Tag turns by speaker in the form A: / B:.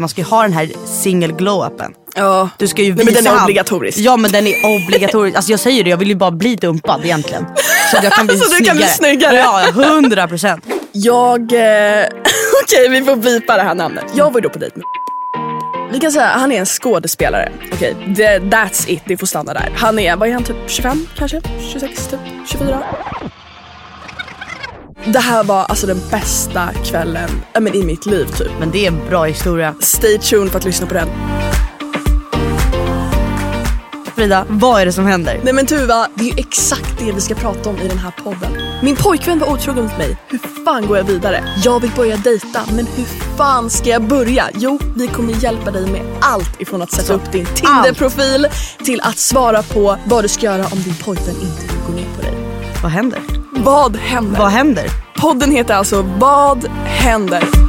A: man ska ju ha den här single glow-upen.
B: Ja.
A: Du ska ju
B: Nej, men den
A: visa
B: är
A: han-
B: obligatorisk.
A: Ja men den är obligatorisk. Alltså jag säger det, jag vill ju bara bli dumpad egentligen. Så att jag kan bli
B: Så du kan bli snyggare.
A: Ja, hundra procent.
B: Jag... Eh, Okej, vi får bipa det här namnet. Jag var ju då på dejt med Vi kan säga han är en skådespelare. Okej, det- that's it. Det får stanna där. Han är, vad är han, typ 25 kanske? 26, typ 24? Det här var alltså den bästa kvällen ja, men, i mitt liv typ.
A: Men det är en bra historia.
B: Stay tuned för att lyssna på den.
A: Frida, vad är det som händer?
B: Nej men Tuva, det är ju exakt det vi ska prata om i den här podden. Min pojkvän var otrogen mot mig. Hur fan går jag vidare? Jag vill börja dejta, men hur fan ska jag börja? Jo, vi kommer hjälpa dig med allt ifrån att sätta upp din Tinder-profil till att svara på vad du ska göra om din pojkvän inte vill gå ner på dig.
A: Vad händer?
B: Vad händer?
A: Vad händer?
B: Podden heter alltså Vad händer?